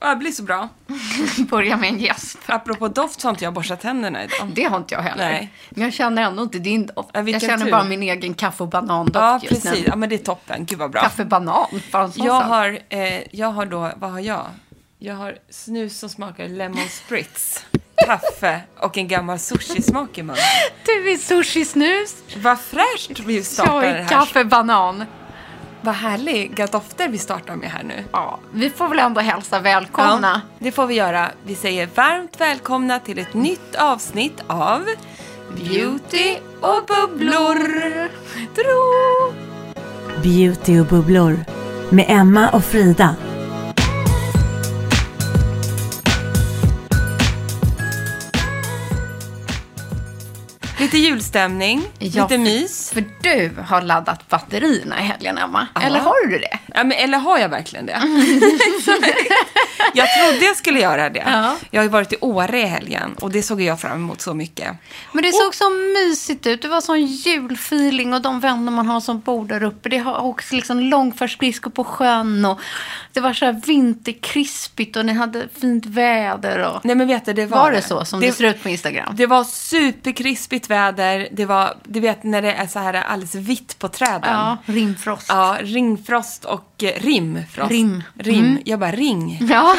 Det blir så bra. Börja med en gäsp. Apropå doft så har inte jag borstat tänderna idag. Det har inte jag heller. Nej. Men jag känner ändå inte din doft. Ja, jag vilken känner tur. bara min egen kaffe och banandoft Ja, just precis. nu. Ja, men det är toppen. Gud vad bra. Kaffe och banan, bara en sån Jag sak. har, eh, jag har då, vad har jag? Jag har snus som smakar lemon spritz, kaffe och en gammal sushi-smak i munnen. Du är sushi-snus, Vad fräscht vi startar jag det är här. kaffe och banan. Vad härliga dofter vi startar med här nu. Ja, vi får väl ändå hälsa välkomna. Ja, det får vi göra. Vi säger varmt välkomna till ett nytt avsnitt av Beauty och bubblor. Tro! Beauty och bubblor med Emma och Frida. Lite julstämning, Ja, lite för- mys. För du har laddat batterierna i helgen, Emma. Eller har du det? Ja, men, eller har jag verkligen det? jag trodde jag skulle göra det. Mm. Ja. Jag har ju varit i Åre i helgen och det såg jag fram emot så mycket. Men det såg så mysigt ut. Det var sån julfeeling och de vänner man har som bor där uppe. Det har också liksom långfärdsskridskor på sjön och det var så här vinterkrispigt och ni hade fint väder. Och... Nej men vet du, det var var det så som det, ser ut på Instagram? Det var superkrispigt väder. Det var, du vet när det är så här alldeles vitt på träden. ja, rimfrost. Ja, ringfrost och eh, rimfrost. Rim. Mm. Rim. Jag bara ring. Ja.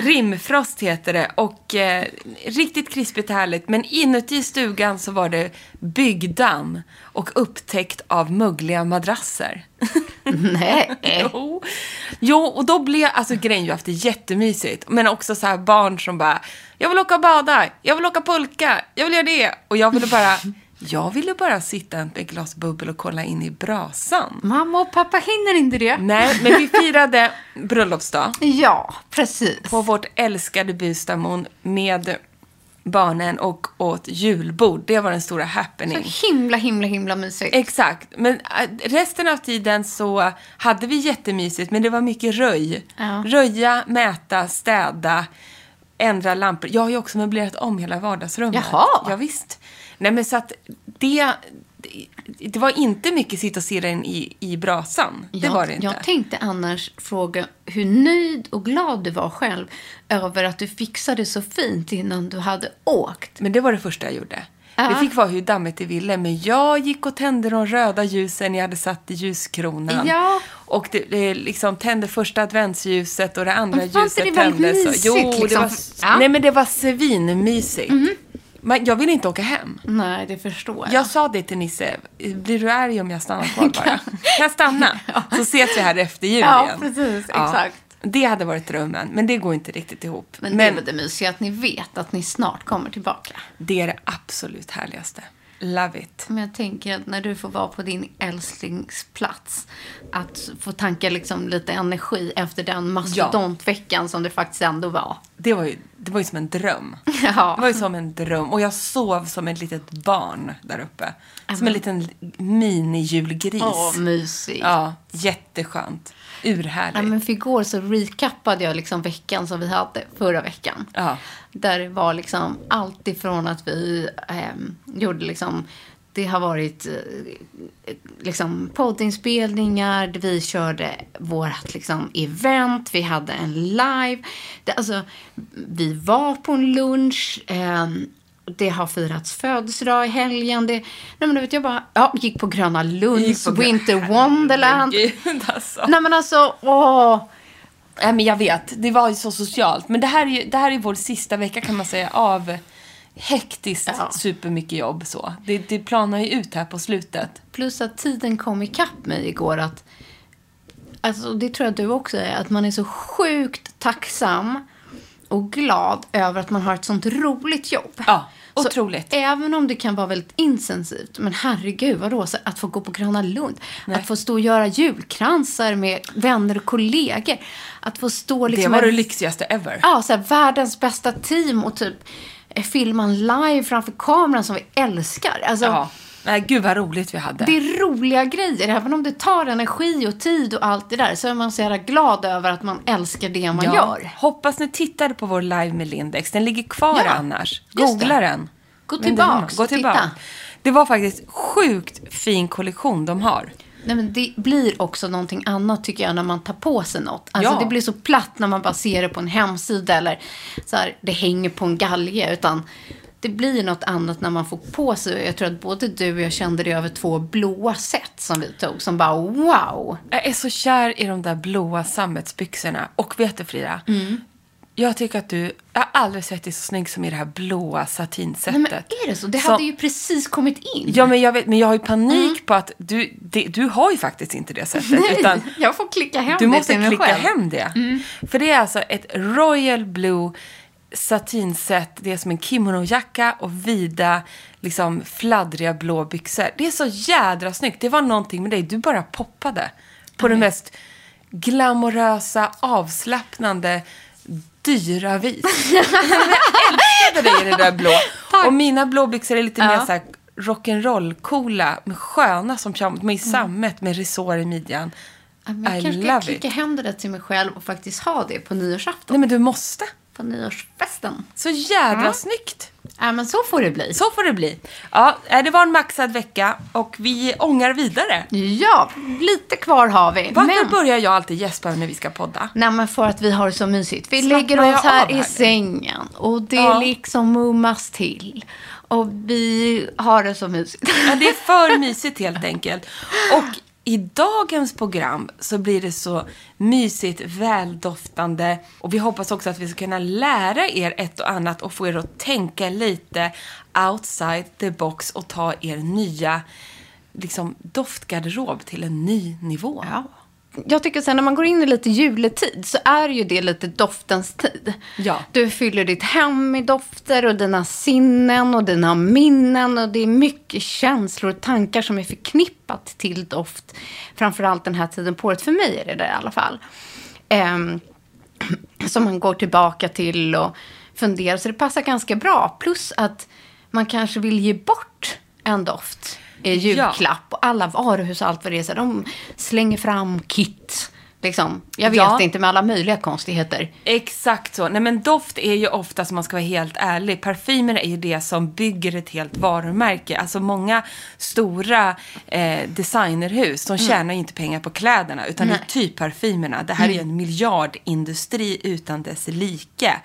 Rimfrost heter det och eh, riktigt krispigt härligt. Men inuti stugan så var det byggdamm och upptäckt av mögliga madrasser. Nej. Jo. jo, och då blev alltså grejen ju efter jättemysigt. Men också så här barn som bara, jag vill åka och bada, jag vill åka pulka, jag vill göra det. Och jag ville bara, jag ville bara sitta med ett glas bubbel och kolla in i brasan. Mamma och pappa hinner inte det. Nej, men vi firade bröllopsdag Ja, precis. på vårt älskade Bystamon med barnen och åt julbord. Det var den stora happening. Så himla, himla, himla mysigt. Exakt. Men äh, resten av tiden så hade vi jättemysigt, men det var mycket röj. Ja. Röja, mäta, städa, ändra lampor. Jag har ju också möblerat om hela vardagsrummet. Jaha. Ja, visst. Nej, men så att det... det- Det var inte mycket sitta och stirra in i, i brasan. Det jag, var det inte. jag tänkte annars fråga hur nöjd och glad du var själv över att du fixade så fint innan du hade åkt. Men det var det första jag gjorde. Ja. Det fick vara hur dammigt det ville, men jag gick och tände de röda ljusen jag hade satt i ljuskronan. Ja. Och det, det liksom tände första adventsljuset och det andra Men var inte ljuset det väldigt tändes. mysigt, jo, det liksom? var, Ja. Mhm. Nej, men det var svinmysigt. Men jag vill inte åka hem. Nej, det förstår jag. Jag sa det till Nisse, blir du arg om jag stannar kvar bara? Kan jag stanna? Så ses vi här efter jul Ja, igen. precis, exakt. Det hade varit drömmen, men det går inte riktigt ihop. Men, det är väl det mysiga att ni vet att ni snart kommer tillbaka. det är det absolut härligaste. Love it. Men jag tänker att när du får vara på din älsklingsplats, att få tanka liksom lite energi efter den mastodontveckan som det faktiskt ändå var. Det var ju det var ju som en dröm. Ja. Det var ju som en dröm. Och jag sov som ett litet barn där uppe. Som en liten mini-julgris. Åh, mysigt. ja, jätteskönt. Urhärligt. Nej, men för igår så recappade jag liksom veckan som vi hade förra veckan. Ja. Där det var liksom allt ifrån att vi ehm, gjorde liksom det har varit eh, liksom poddinspelningar, vi körde vårt liksom, event, vi hade en live. Det, alltså, vi var på en lunch, ehm, det har firats födelsedag i helgen. Det, nej, men du vet, jag bara ja, gick på Gröna Lunds, Gick på Grö- Winter Wonderland. Gud, alltså. Nej men alltså, åh. Nej, men jag vet. Det var ju så socialt. Men det här är, ju, det här är vår sista vecka kan man säga av hektiskt Ja. supermycket jobb. Så. Det, det planar ju ut här på slutet. Plus att tiden kom ikapp mig igår att, alltså det tror jag du också är, att man är så sjukt tacksam och glad över att man har ett sånt roligt jobb. Ja, otroligt. Så även om det kan vara väldigt insensivt, men herregud vadå, så att få gå på Gröna Lund, att få stå och göra julkransar med vänner och kollegor, att få stå liksom... Alltså. det var och- det lyxigaste ever. Ja, så här, världens bästa team och typ eh, filma en live framför kameran som vi älskar. Alltså, Ja. Nej, gud vad roligt vi hade. Det är roliga grejer, även om det tar energi och tid och allt det där så är man så jävla glad över att man älskar det man gör. Hoppas ni tittade på vår live med Lindex. Den ligger kvar Ja, annars. just Googla det. den. Gå Men det är tillbaks bra. Gå och tillbaka. titta. Det var faktiskt sjukt fin kollektion de har. Nej, men det blir också någonting annat tycker jag när man tar på sig något. Alltså Ja. det blir så platt när man bara ser det på en hemsida eller så här, det hänger på en galge. Utan det blir något annat när man får på sig. Jag tror att både du och jag kände det över två blåa set som vi tog. Som bara wow. Jag är så kär i de där blåa sammetsbyxorna. Och vet du Frida? Mm. Jag tycker att du, jag har aldrig sett dig så snygg som i det här blåa satinsättet. Nej, men är det så? Det Som- hade ju precis kommit in. Ja men jag, vet, men jag har ju panik på att du, det, du har ju faktiskt inte det sättet. Nej, utan jag får klicka hem Du det måste till mig klicka själv. hem det. Mm. För det är alltså ett Royal Blue satinset. Det är som en kimonojacka och vida, liksom fladdriga blå byxor. Det är så jädra snyggt. Det var någonting med dig. Du bara poppade. På det mest glamorösa, avslappnande, dyra vis. Jag älskade dig i det där blå. Och mina blåbyxor är lite mer så här rock'n'roll-coola, men sköna som tjam- med sammet med resår i midjan. Mm. Ja, men Jag I kanske ska love klicka it. hem det där till mig själv och faktiskt ha det på nyårsafton. Nej men du måste. På nyårsfesten. Så jädra snyggt. Ja, men så får det bli. Så får det bli. Ja, eh, det var en maxad vecka och vi ångar vidare. Ja, lite kvar har vi. Varför men... börjar jag alltid gäspa när vi ska podda? Nej, men för att vi har det så mysigt. Vi Slappnar lägger oss jag här av i här? sängen och det Ja. liksom mummas till. Och vi har det så mysigt. Ja, det är för mysigt helt enkelt. Och i dagens program så blir det så mysigt, väldoftande och vi hoppas också att vi ska kunna lära er ett och annat och få er att tänka lite outside the box och ta er nya liksom, doftgarderob till en ny nivå. Jag tycker sen när man går in i lite juletid så är ju det lite doftens tid. Ja. Du fyller ditt hem med dofter och dina sinnen och dina minnen och det är mycket känslor och tankar som är förknippat till doft. Framförallt den här tiden på året. För mig är det det i alla fall. Ehm, som man går tillbaka till och funderar. Så det passar ganska bra. Plus att man kanske vill ge bort en doft i julklapp. Och alla varuhus och allt vad det är, så här, de slänger fram kit. Liksom. Jag vet Ja. inte med alla möjliga konstigheter. Exakt så. Nej men doft är ju ofta, om man ska vara helt ärlig, parfymer är ju det som bygger ett helt varumärke. Alltså många stora eh, designerhus, de tjänar ju inte pengar på kläderna utan det är typ parfymerna. Det här är ju en miljardindustri utan dess like.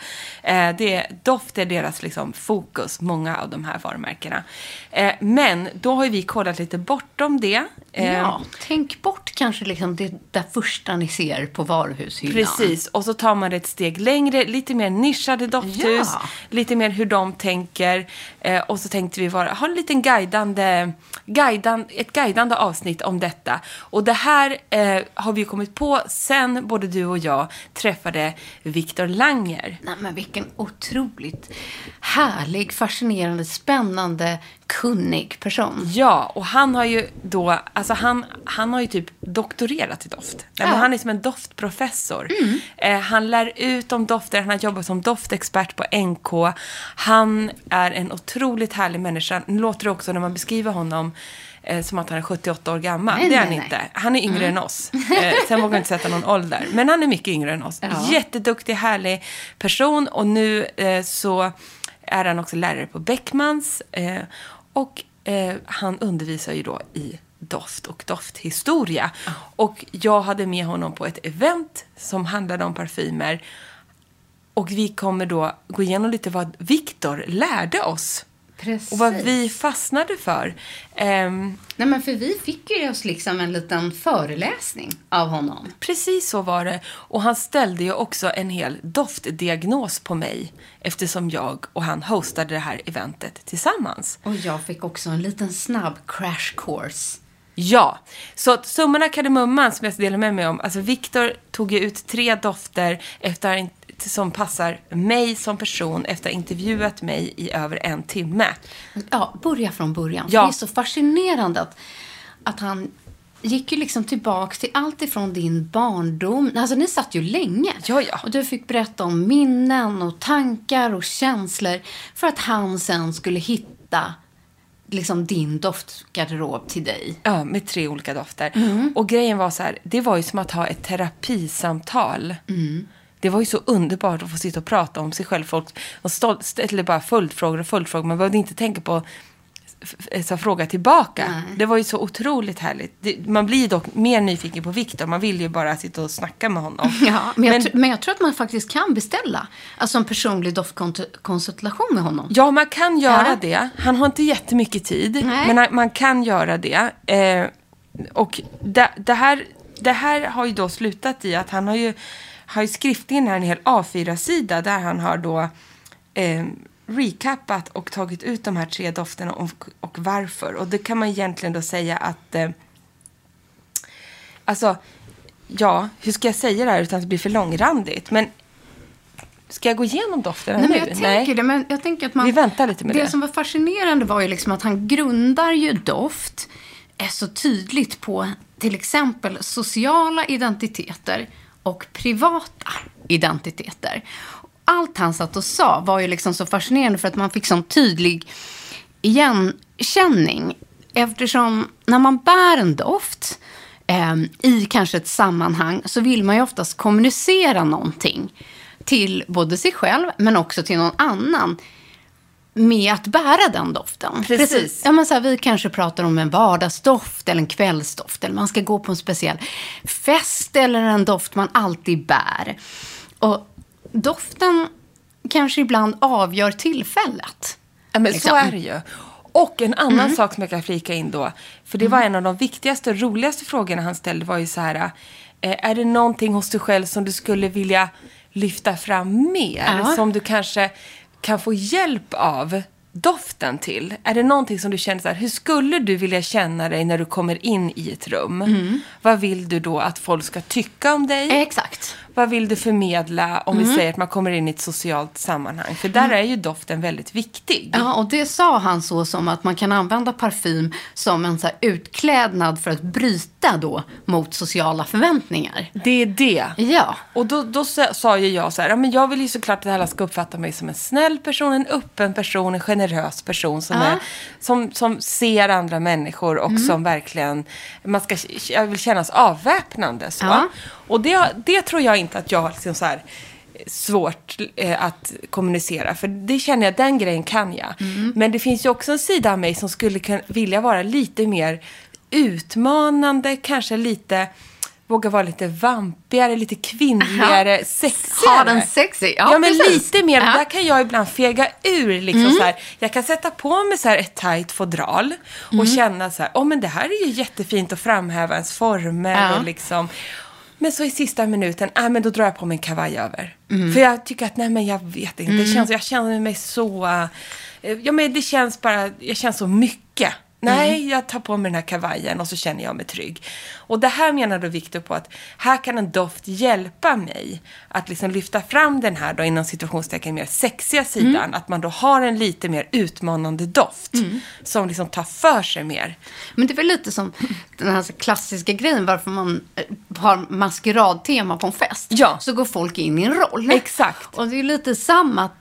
Eh, det, doft är deras liksom, fokus, många av de här varumärkena. Eh, men då har ju vi kollat lite bortom det. Eh, Ja, tänk bort kanske liksom det där första ni ser på varuhushyllan. Precis, och så tar man det ett steg längre, lite mer nischade dofthus, Ja. lite mer hur de tänker. Eh, och så tänkte vi vara, ha en liten guidande, guidan, ett guidande avsnitt om detta. Och det här eh, har vi ju kommit på sen både du och jag träffade Viktor Langer. Nej, men vilken otroligt härlig, fascinerande, spännande kunnig person. Ja, och han har ju då, alltså han, han har ju typ doktorerat i doft. Nej, men han är som en doftprofessor. Eh, han lär ut om dofter, han har jobbat som doftexpert på NK. Han är en otroligt härlig människa. Nu låter det också när man beskriver honom eh, som att han är 78 år gammal. Nej, det nej, är han nej. Mm. inte. Han är yngre än oss. Eh, sen vågar jag inte sätta någon ålder. Men han är mycket yngre än oss. Jätteduktig, härlig person. Och nu eh, så är han också lärare på Beckmans. Eh, och eh, han undervisar ju då i doft och dofthistoria. Ah. Och jag hade med honom på ett event som handlade om parfymer. Och vi kommer då gå igenom lite vad Viktor lärde oss. Precis. Och vad vi fastnade för. Ehm, Nej, men för vi fick ju oss liksom en liten föreläsning av honom. Precis så var det. Och han ställde ju också en hel doftdiagnos på mig eftersom jag och han hostade det här eventet tillsammans. Och jag fick också en liten snabb crash course. Ja, så att summan av kardemumman som jag ska dela med mig om. Alltså Viktor tog ju ut tre dofter efter en, som passar mig som person efter att ha intervjuat mig i över en timme. Ja, börja från början. Ja. För det är så fascinerande att, att han gick ju liksom tillbaka till allt ifrån din barndom. Alltså ni satt ju länge. Ja, ja. Och du fick berätta om minnen och tankar och känslor för att han sen skulle hitta liksom din doftgarderob till dig. Ja, med tre olika dofter. Och grejen var så här, det var ju som att ha ett terapisamtal. Det var ju så underbart att få sitta och prata om sig själv. Folk och stol- ställde bara följdfrågor och följdfrågor. Man behövde inte tänka på f- f- så fråga tillbaka. Det var ju så otroligt härligt. Det, man blir dock mer nyfiken på Viktor. Man vill ju bara sitta och snacka med honom. Ja, men, jag tr- men jag tror att man faktiskt kan beställa alltså en personlig doftkonsultation med honom. Ja, man kan göra Ja. det. Han har inte jättemycket tid, Nej. men han- man kan göra det. Eh, och det, det, här, det här har ju då slutat i att han har ju, har ju skriftligen här en hel A4-sida där han har då eh, recapat och tagit ut de här tre dofterna och, och varför. Och det kan man egentligen då säga att eh, Alltså, ja, hur ska jag säga det här utan att det blir för långrandigt? Men ska jag gå igenom dofterna Nej, nu? men jag tänker det. Men jag tänker att man, Vi väntar lite med det. som var fascinerande var ju liksom att han grundar ju doft är så tydligt på till exempel sociala identiteter och privata identiteter. Allt han satt och sa var ju liksom så fascinerande för att man fick sån tydlig igenkänning. Eftersom när man bär en doft eh, i kanske ett sammanhang så vill man ju oftast kommunicera någonting till både sig själv men också till någon annan med att bära den doften. Precis. Ja, men så här, vi kanske pratar om en vardagsdoft eller en kvällsdoft eller man ska gå på en speciell fest eller en doft man alltid bär. Och doften kanske ibland avgör tillfället. Ja, men Liksom. så är det ju. Och en annan sak som jag kan flika in då. För det var en av de viktigaste och roligaste frågorna han ställde var ju så här. eh, Är det någonting hos dig själv som du skulle vilja lyfta fram mer? Ja. Som du kanske kan få hjälp av doften till? Är det någonting som du känner så här, hur skulle du vilja känna dig när du kommer in i ett rum? Vad vill du då att folk ska tycka om dig? Exakt. Vad vill du förmedla om vi säger att man kommer in i ett socialt sammanhang? För där är ju doften väldigt viktig. Ja, och det sa han så som att man kan använda parfym som en så här utklädnad för att bryta då mot sociala förväntningar. Det är det. Ja. Och då, då sa sa ju jag så här, "Ja, men jag vill ju såklart att alla ska uppfatta mig som en snäll person, en öppen person, en generös person som, är, som, som ser andra människor Mm. och som verkligen, man ska, jag vill kännas avväpnande. Så. Ja. Och det, det tror jag inte att jag har liksom så här eh, svårt eh, att kommunicera. För det känner jag, den grejen kan jag. Mm. Men det finns ju också en sida av mig som skulle kunna, vilja vara lite mer utmanande, kanske lite våga vara lite vampigare, lite kvinnligare, sexigare. Ha den sexy. Ja, men precis. lite mer. Ja. Mm. Där kan jag ibland fega ur. Liksom, så här. Jag kan sätta på mig så här, ett tajt fodral och Mm. känna så här, oh, men det här är ju jättefint att framhäva ens former. Ja. Och liksom. Men så i sista minuten, ah, men då drar jag på mig en kavaj över. Mm. För jag tycker att, nej men jag vet inte, det känns, jag känner mig så, eh, ja men det känns bara, jag känns så mycket. Nej, jag tar på mig den här kavajen och så känner jag mig trygg. Och det här menar då Viktor på att här kan en doft hjälpa mig att liksom lyfta fram den här då inom situationstecken mer sexiga sidan. Att man då har en lite mer utmanande doft som liksom tar för sig mer. Men det är väl lite som den här så klassiska grejen varför man eh, har maskeradtema på en fest. Ja. Så går folk in i en roll. Exakt. Och det är lite samma. att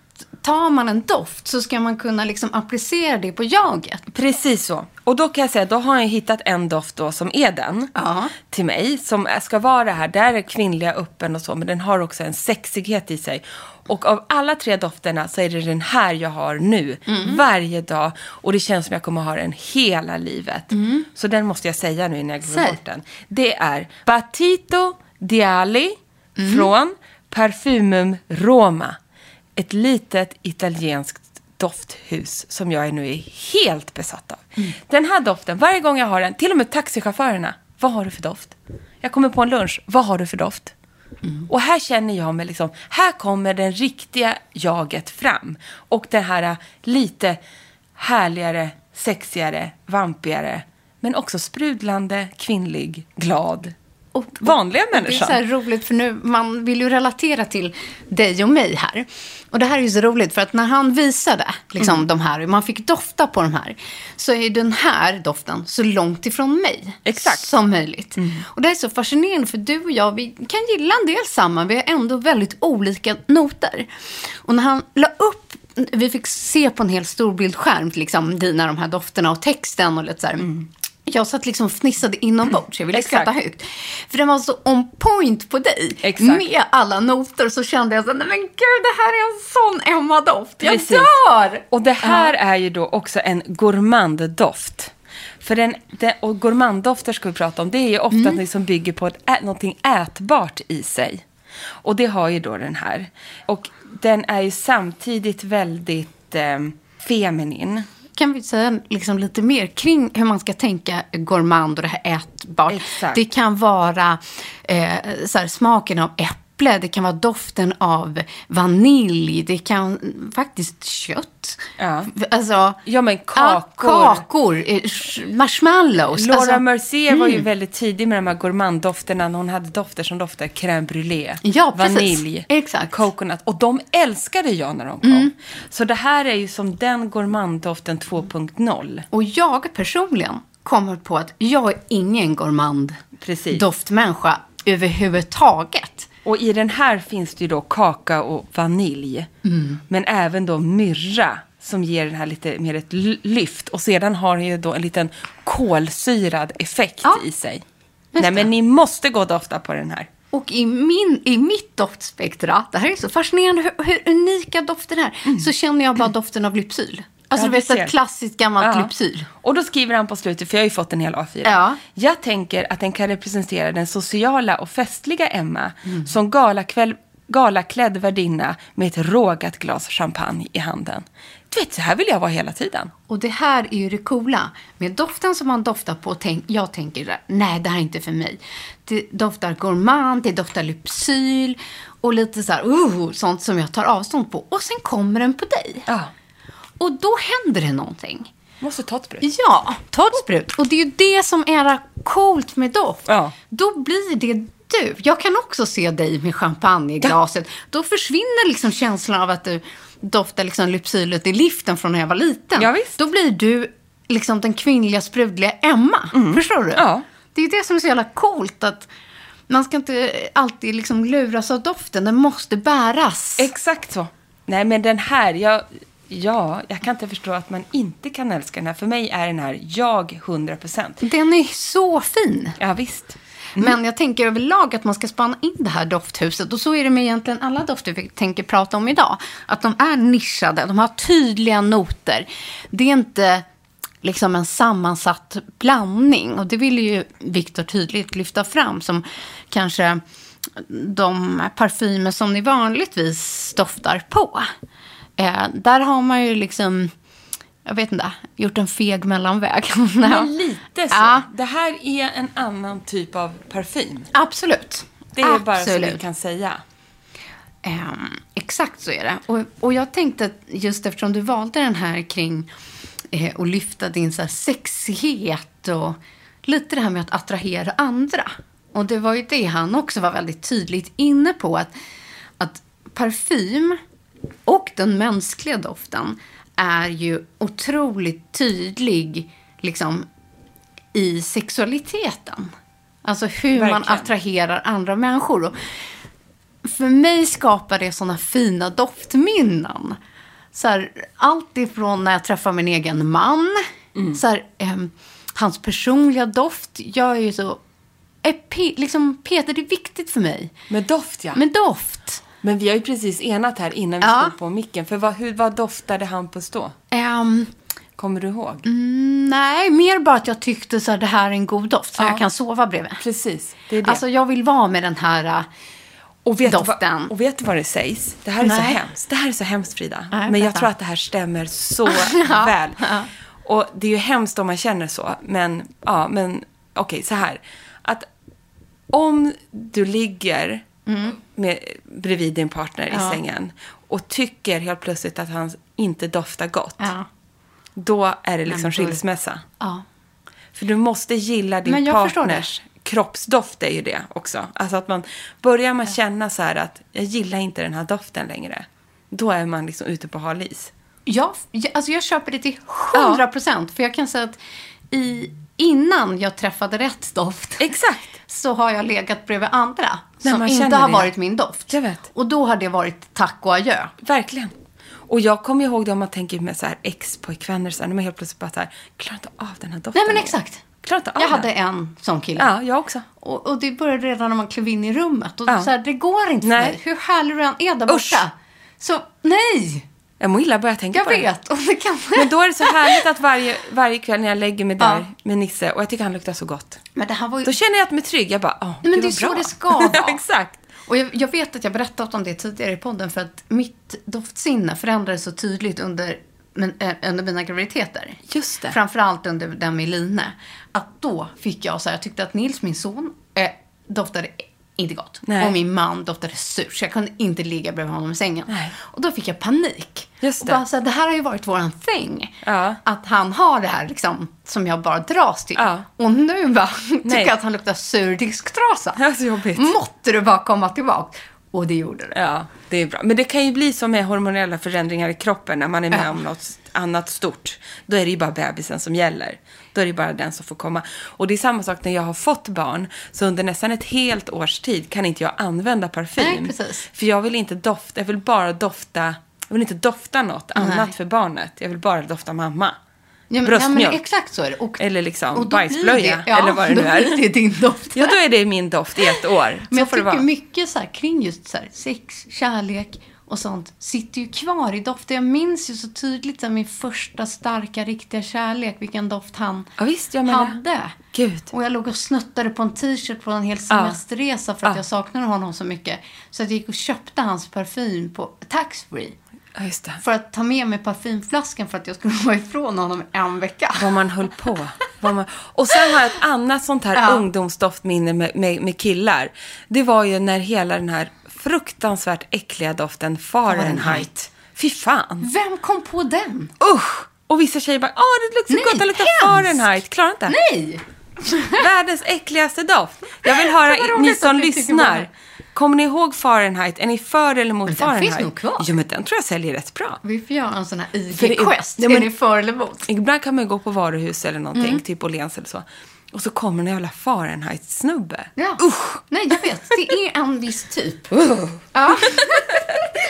Tar man en doft så ska man kunna liksom applicera det på jaget. Precis så. Och då kan jag säga, då har jag hittat en doft då som är den Ja. till mig. Som ska vara det här, där är kvinnliga öppen och så, men den har också en sexighet i sig. Och av alla tre dofterna så är det den här jag har nu, Mm. varje dag. Och det känns som jag kommer ha den hela livet. Så den måste jag säga nu innan jag glömmer Mm. Säg. bort den. Det är Batito Diali från Parfumum Roma. Ett litet italienskt dofthus som jag nu är helt besatt av. Den här doften, varje gång jag har den, till och med taxichaufförerna, vad har du för doft? Jag kommer på en lunch, vad har du för doft? Och här känner jag mig liksom, här kommer den riktiga jaget fram. Och den här eh, lite härligare, sexigare, vampigare, men också sprudlande, kvinnlig, glad, Och- vanliga Det är människan. så här roligt för nu, man vill ju relatera till dig och mig här. Och det här är ju så roligt för att när han visade liksom, Mm. de här, och man fick dofta på de här, så är ju den här doften så långt ifrån mig Exakt. Mm. som möjligt. Och det här är så fascinerande för du och jag, vi kan gilla en del samma, vi har ändå väldigt olika noter. Och när han la upp vi fick se på en hel storbildskärm liksom, dina de här dofterna och texten och lite så här. Mm. Jag satt liksom och fnissade inombords, jag ville Exakt. skratta högt. För den var så on point på dig. Exakt. Med alla noter så kände jag så här, "Nej, men gud det här är en sån Emma-doft. Jag Precis. dör! Och det här är ju då också en gourmanddoft. För den, den, och gourmanddofter ska vi prata om, det är ju Mm. ofta att det som bygger på ett, ä, någonting ätbart i sig. Och det har ju då den här. Och den är ju samtidigt väldigt eh, feminin. Kan vi säga liksom lite mer kring hur man ska tänka gourmand och det här ätbart? Exakt. Det kan vara eh, så här, smaken av äpple, det kan vara doften av vanilj, det kan faktiskt kött. Ja. Alltså, Ja, men ja, kakor. kakor eh, sh- marshmallows. Laura alltså, Mercier var ju väldigt tidig med de här gourmanddofterna. när Hon hade dofter som doftade crème brûlée, Ja, precis. vanilj, Exakt. Mm. coconut. Och de älskade jag när de kom. Så det här är ju som den gourmanddoften 2.0. och jag personligen kommer på att jag är ingen gourmand Precis. doftmänniska överhuvudtaget. Och i den här finns det ju då kaka och vanilj. Mm. Men även då myrra som ger den här lite mer ett l- lyft. Och sedan har den ju då en liten kolsyrad effekt Ja. i sig. Nej, men ni måste gå och dofta på den här. Och i, min, i mitt doftspektra, det här är så fascinerande hur, hur unika dofter är, så känner jag bara doften av Lypsyl. Alltså Mm. Ja, du vet, du ser. ett klassiskt gammalt Ja. Lypsyl. Och då skriver han på slutet, för jag har ju fått en hel A4. Ja. Jag tänker att den kan representera den sociala och festliga Emma som galakväll, galaklädd värdinna med ett rågat glas champagne i handen. Du vet, så här vill jag vara hela tiden. Och det här är ju det coola. Med doften som man doftar på, tänk, jag tänker nej det här är inte för mig. Det doftar gourmand, det doftar lypsyl och lite så här, uh, sånt som jag tar avstånd på. Och sen kommer den på dig. Ja, Och då händer det någonting. måste ta ett brus. Ja, ta ett sprut. Och det är ju det som är coolt med doft. Ja. Då blir det du. Jag kan också se dig med champagne i glaset. Då försvinner liksom känslan av att du doftar liksom lypsylet i liften från när jag var liten. Ja, visst. Då blir du liksom den kvinnliga sprudliga Emma. Förstår du? Mm. Ja. Det är det som är så jävla coolt att man ska inte alltid liksom luras av doften. Den måste bäras. Exakt så. Nej, men den här, jag, ja, jag kan inte förstå att man inte kan älska den här. För mig är den här jag 100%. Den är så fin. Ja, visst. Mm. Men jag tänker överlag att man ska spana in det här dofthuset. Och så är det med egentligen alla dofter vi tänker prata om idag. Att de är nischade, de har tydliga noter. Det är inte liksom en sammansatt blandning. Och det vill ju Viktor tydligt lyfta fram som kanske de parfymer som ni vanligtvis doftar på. Eh, där har man ju liksom, jag vet inte, gjort en feg mellanväg. Men lite så. Ja. Det här är en annan typ av parfym. Absolut. Det är bara så vi Absolut. kan säga. Ehm, exakt så är det. Och, och jag tänkte att just eftersom du valde den här kring eh, och lyfta din så här sexighet och lite det här med att attrahera andra. Och det var ju det han också var väldigt tydligt inne på, att, att parfym och den mänskliga doften är ju otroligt tydlig liksom, i sexualiteten. Alltså hur man Verkligen. attraherar andra människor. Och för mig skapar det såna fina doftminnen. Så här, allt ifrån när jag träffar min egen man. Mm. Så här, ehm, hans personliga doft. Jag är ju så... Är pe- liksom, Peter, det är viktigt för mig. Med doft, ja. Men, Men doft. vi har ju precis enat här innan vi Ja. slog på micken. För vad, hur, vad doftade Hampus då? Ehm, Kommer du ihåg? Mm. nej, mer bara att jag tyckte så här, det här är en god doft. Så Ja. jag kan sova bredvid. Precis, det är det. Alltså, jag vill vara med den här... äh, Och vet, du vad- Doften. och vet du vad det sägs? Det här är så Nej. hemskt. Det här är så hemskt Frida. Nej, men jag berätta. tror att det här stämmer så väl. Och det är ju hemskt om man känner så. Men, ja, men okej, så här. Att om du ligger Mm. med, bredvid din partner i sängen och tycker helt plötsligt att han inte doftar gott. Ja. Då är det Men liksom då är det- skilsmässa. Ja. För du måste gilla din Men jag förstår det. partners kroppsdoft är ju det också. Alltså att man börjar man känna så här att jag gillar inte den här doften längre. Då är man liksom ute på hal is. Jag, jag- alltså jag köper det till 100 procent. För jag kan säga att i, innan jag träffade rätt doft Exakt. så har jag legat bredvid andra Nej, som man inte känner har det. varit min doft. Jag vet. Och då har det varit tack och adjö. Verkligen. Och jag kommer ihåg det om man tänker med så här ex-pojkvänner så här, när man helt plötsligt bara så här, klarar inte av den här doften. Nej, men längre. exakt. Klarar inte av Jag hade den. en sån kille. Ja, jag också. Och, och det började redan när man klev in i rummet. Och Ja. så här, det går inte Nej. för mig. Hur härlig du än är där borta. Usch. Så nej, Jag mår illa bara jag tänker jag på det. vet. Och det kan... Men då är det så härligt att varje, varje kväll när jag lägger mig där Ja. med Nisse och jag tycker han luktar så gott. Men det här var ju Då känner jag att mig trygg. Jag bara, åh, Nej, men gud, det är vad så bra. det ska vara. Exakt. Och jag, jag vet att jag berättat om det tidigare i podden för att mitt doftsinne förändrades så tydligt under, men, eh, under mina graviditeter. Just det. Framförallt under den med Line. Att då fick jag så här, jag tyckte att Nils, min son, eh, doftade inte gott. Nej. Och min man doftade surt, så jag kunde inte ligga bredvid honom i sängen. Nej. Och då fick jag panik. Just och det. bara så här, det här har ju varit våran thing. Ja. Att han har det här liksom, som jag bara dras till. Ja. Och nu bara, tycker Nej. jag att han luktar sur disktrasa. Ja, så Alltså, jobbigt. Måtte du bara komma tillbaka. Och det gjorde det. Ja, det är bra. Men det kan ju bli som med hormonella förändringar i kroppen när man är med om något annat stort. Då är det ju bara bebisen som gäller. Då är det ju bara den som får komma. Och det är samma sak när jag har fått barn. Så under nästan ett helt års tid kan inte jag använda parfym. Nej, precis. För jag vill inte dofta, jag vill bara dofta, jag vill inte dofta något annat Nej. för barnet. Jag vill bara dofta mamma. Ja, men, ja, Bröstmjölk. men exakt så är det. Och, Eller liksom och då blir bajsblöja, det- ja, eller vad det nu är. Då blir det din doft. Ja, då är det min doft i ett år. men så jag får det tycker vara. mycket så här, kring just så här, sex, kärlek och sånt sitter ju kvar i dofter. Jag minns ju så tydligt så här, min första starka, riktiga kärlek, vilken doft han Ja, visst, jag menar. hade. Gud. Och jag låg och snuttade på en t-shirt på en hel semesterresa för att jag saknade honom så mycket. Så att jag gick och köpte hans parfym på taxfree. Ja, just det. för att ta med mig parfymflaskan för att jag skulle vara ifrån honom en vecka. vad man höll på. Vad man... Och sen har jag ett annat sånt här Ja. ungdomsdoftminne med, med, med killar. Det var ju när hela den här fruktansvärt äckliga doften Fahrenheit. Fy fan. Vem kom på den? Usch! Och vissa tjejer bara, åh det luktar Nej, så gott, det luktar hemskt. Fahrenheit. Klarar inte. Nej! Världens äckligaste doft. Jag vill höra, Vad roligt ni att som ni tycker om lyssnar. det. Kommer ni ihåg Fahrenheit? Är ni för eller mot Men den finns Fahrenheit? nog kvar. Jo, men den tror jag säljer rätt bra. Vi får göra en sån här För det är- IG-quest. Är, Nej, men- ni för eller emot? Ibland kan man ju gå på varuhus eller någonting, Mm. typ Åhléns eller så. Och så kommer en jävla Fahrenheit-snubbe. Ja. Usch! Nej, jag vet. Det är en viss typ. Ja.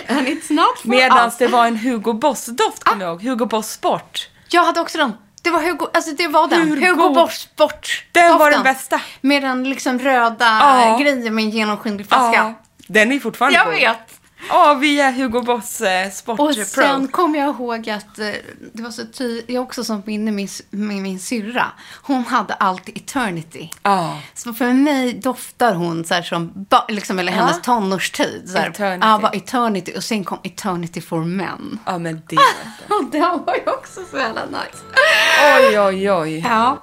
And it's not for Medan us. det var en Hugo Boss-doft, kommer Ah. jag ihåg. Hugo Boss Sport. Jag hade också den. Det var Hugo, alltså det var den. Hur Hugo god? Boss bort. Den var den bästa. Med den liksom röda Ja. grejen med en genomskinlig flaska. Den är fortfarande Jag god. vet. Ja, vi är Hugo Boss eh, Sport Och Pro. sen kommer jag ihåg att eh, det var så ty- jag också som minne min, s- med min syrra. Hon hade allt eternity. Ja. Så för mig doftar hon så här som, ba- liksom, eller hennes Ja. tonårstid. Så här, Eternity. Ja, var eternity. Och sen kom eternity for men. Ja, men det. Och det var ju också så jävla nice. Oj, oj, oj. Ja.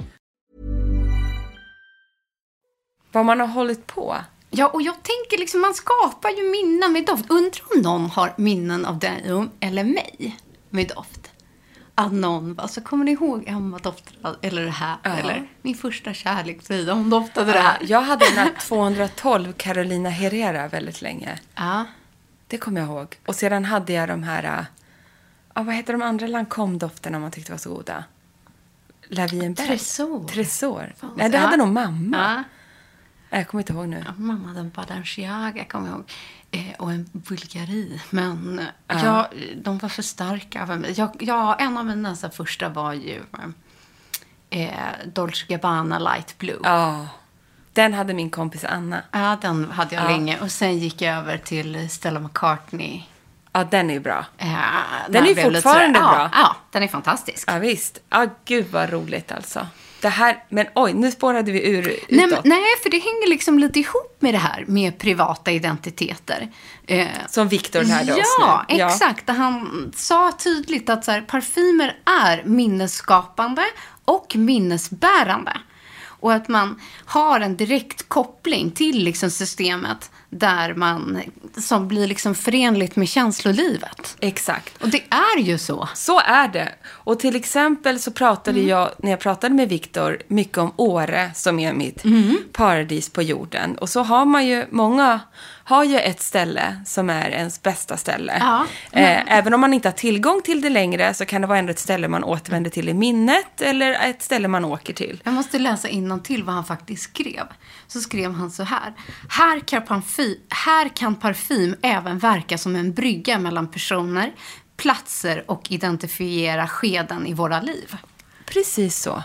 Vad man har hållit på. Ja, och jag tänker liksom, man skapar ju minnen med doft. Undrar om någon har minnen av dig um, eller mig med doft. Att någon bara, så kommer ni ihåg Emma doftade eller det här? Eller min första kärlek Frida, hon doftade det här. Jag hade den här 212 Carolina Herrera väldigt länge. Ja. Det kommer jag ihåg. Och sedan hade jag de här... äh, Ja, vad heter de andra Lancome-dofterna man tyckte var så goda? La Vie en Belle. Tresor. Tresor. Fan, Nej, det ja. hade nog mamma. Ja. Nej, Jag kommer inte ihåg nu. Ja, mamma hade en Balenciaga, kommer jag ihåg. Eh, och en Bulgari. Men eh, jag, de var för starka för mig. Jag, ja, en av mina så här första var ju eh, Dolce Gabbana Light Blue. Ja, Ja. Den hade min kompis Anna. den hade jag länge. Och sen gick jag över till Stella McCartney. Ja, den är ju bra. Eh, Den när jag blev är lite sådär- fortfarande ja, bra. Ja, den är fantastisk. Ja, visst. Ja, gud vad roligt alltså. Det här... Men oj, nu spårade vi ur utåt. Nej, men, nej, för det hänger liksom lite ihop med det här med privata identiteter. Eh, Som Viktor lärde oss Ja, nu. exakt. Han sa tydligt att så här, parfymer är minnesskapande och minnesbärande. Och att man har en direkt koppling till liksom systemet där man, som blir liksom förenligt med känslolivet. Exakt. Och det är ju så. Så är det. Och till exempel så pratade jag, när jag pratade med Viktor, mycket om Åre som är mitt paradis på jorden. Och så har man ju, många har ju ett ställe som är ens bästa ställe. Ja. Eh, även om man inte har tillgång till det längre så kan det vara ändå ett ställe man återvänder till i minnet eller ett ställe man åker till. Jag måste läsa till vad han faktiskt skrev. Så skrev han så här. Här kan, parfy, här kan parfym även verka som en brygga mellan personer, platser och identifiera skeden i våra liv. Precis så.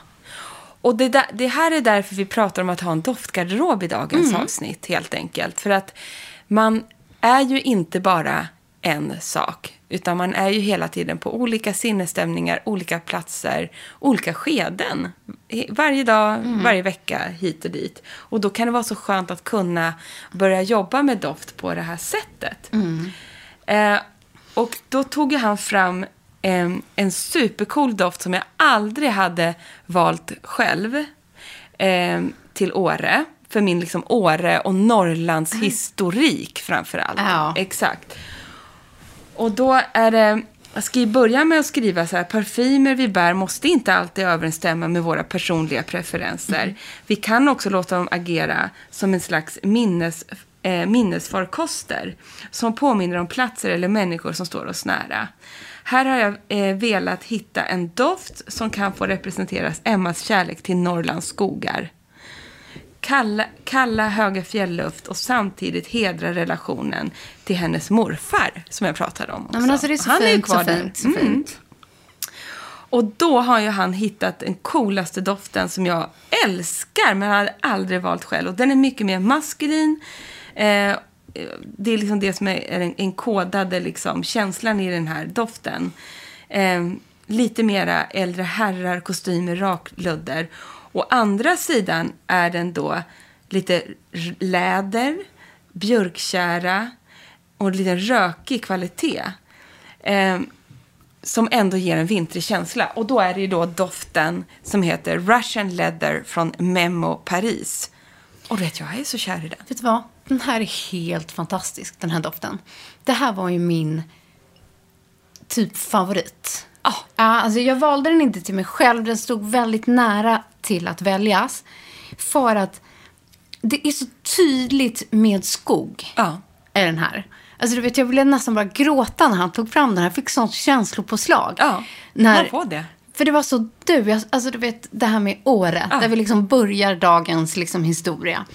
Och det, där, det här är därför vi pratar om att ha en doftgarderob i dagens avsnitt, helt enkelt. För att man är ju inte bara en sak, utan man är ju hela tiden på olika sinnesstämningar, olika platser, olika skeden. I- Varje dag, varje vecka, hit och dit. Och då kan det vara så skönt att kunna börja jobba med doft på det här sättet. Eh, och då tog ju han fram en, en supercool doft som jag aldrig hade valt själv eh, till Åre. För min liksom Åre och Norrlands historik framför allt. Ja. Exakt. Och då är det... Jag ska ju börja med att skriva så här, parfymer vi bär måste inte alltid överensstämma med våra personliga preferenser. Vi kan också låta dem agera som en slags minnes, eh, minnesfarkoster som påminner om platser eller människor som står oss nära. Här har jag eh, velat hitta en doft som kan få representeras Emmas kärlek till Norrlands skogar kalla, kalla höga fjällluft och samtidigt hedra relationen till hennes morfar, som jag pratade om. Ja, men också. alltså det är så Han fint, är ju kvar så där. fint, så Mm. fint. Och då har ju han hittat den coolaste doften som jag älskar, men hade aldrig valt själv. Och den är mycket mer maskulin. Eh, det är liksom det som är är den en kodade liksom, känslan i den här doften. Eh, lite mera äldre herrar, kostymer, raklödder. Å andra sidan är den då lite r- läder, björktjära och lite rökig kvalitet. Eh, som ändå ger en vintrig känsla. Och då är det ju då doften som heter Russian Leather från Memo Paris. Och vet jag, jag är så kär i den. Vet du vad? Den här är helt fantastisk, den här doften. Det här var ju min typ favorit. Ah. Ja, alltså jag valde den inte till mig själv. Den stod väldigt nära till att väljas. För att det är så tydligt med skog. Ja. Är den här. Alltså du vet, jag blev nästan bara gråta när han tog fram den. Jag fick sånt känslopåslag. Ja, när, man får det. För det var så du. Jag- Alltså du vet, det här med Åre. Ja. Där vi liksom börjar dagens liksom, historia.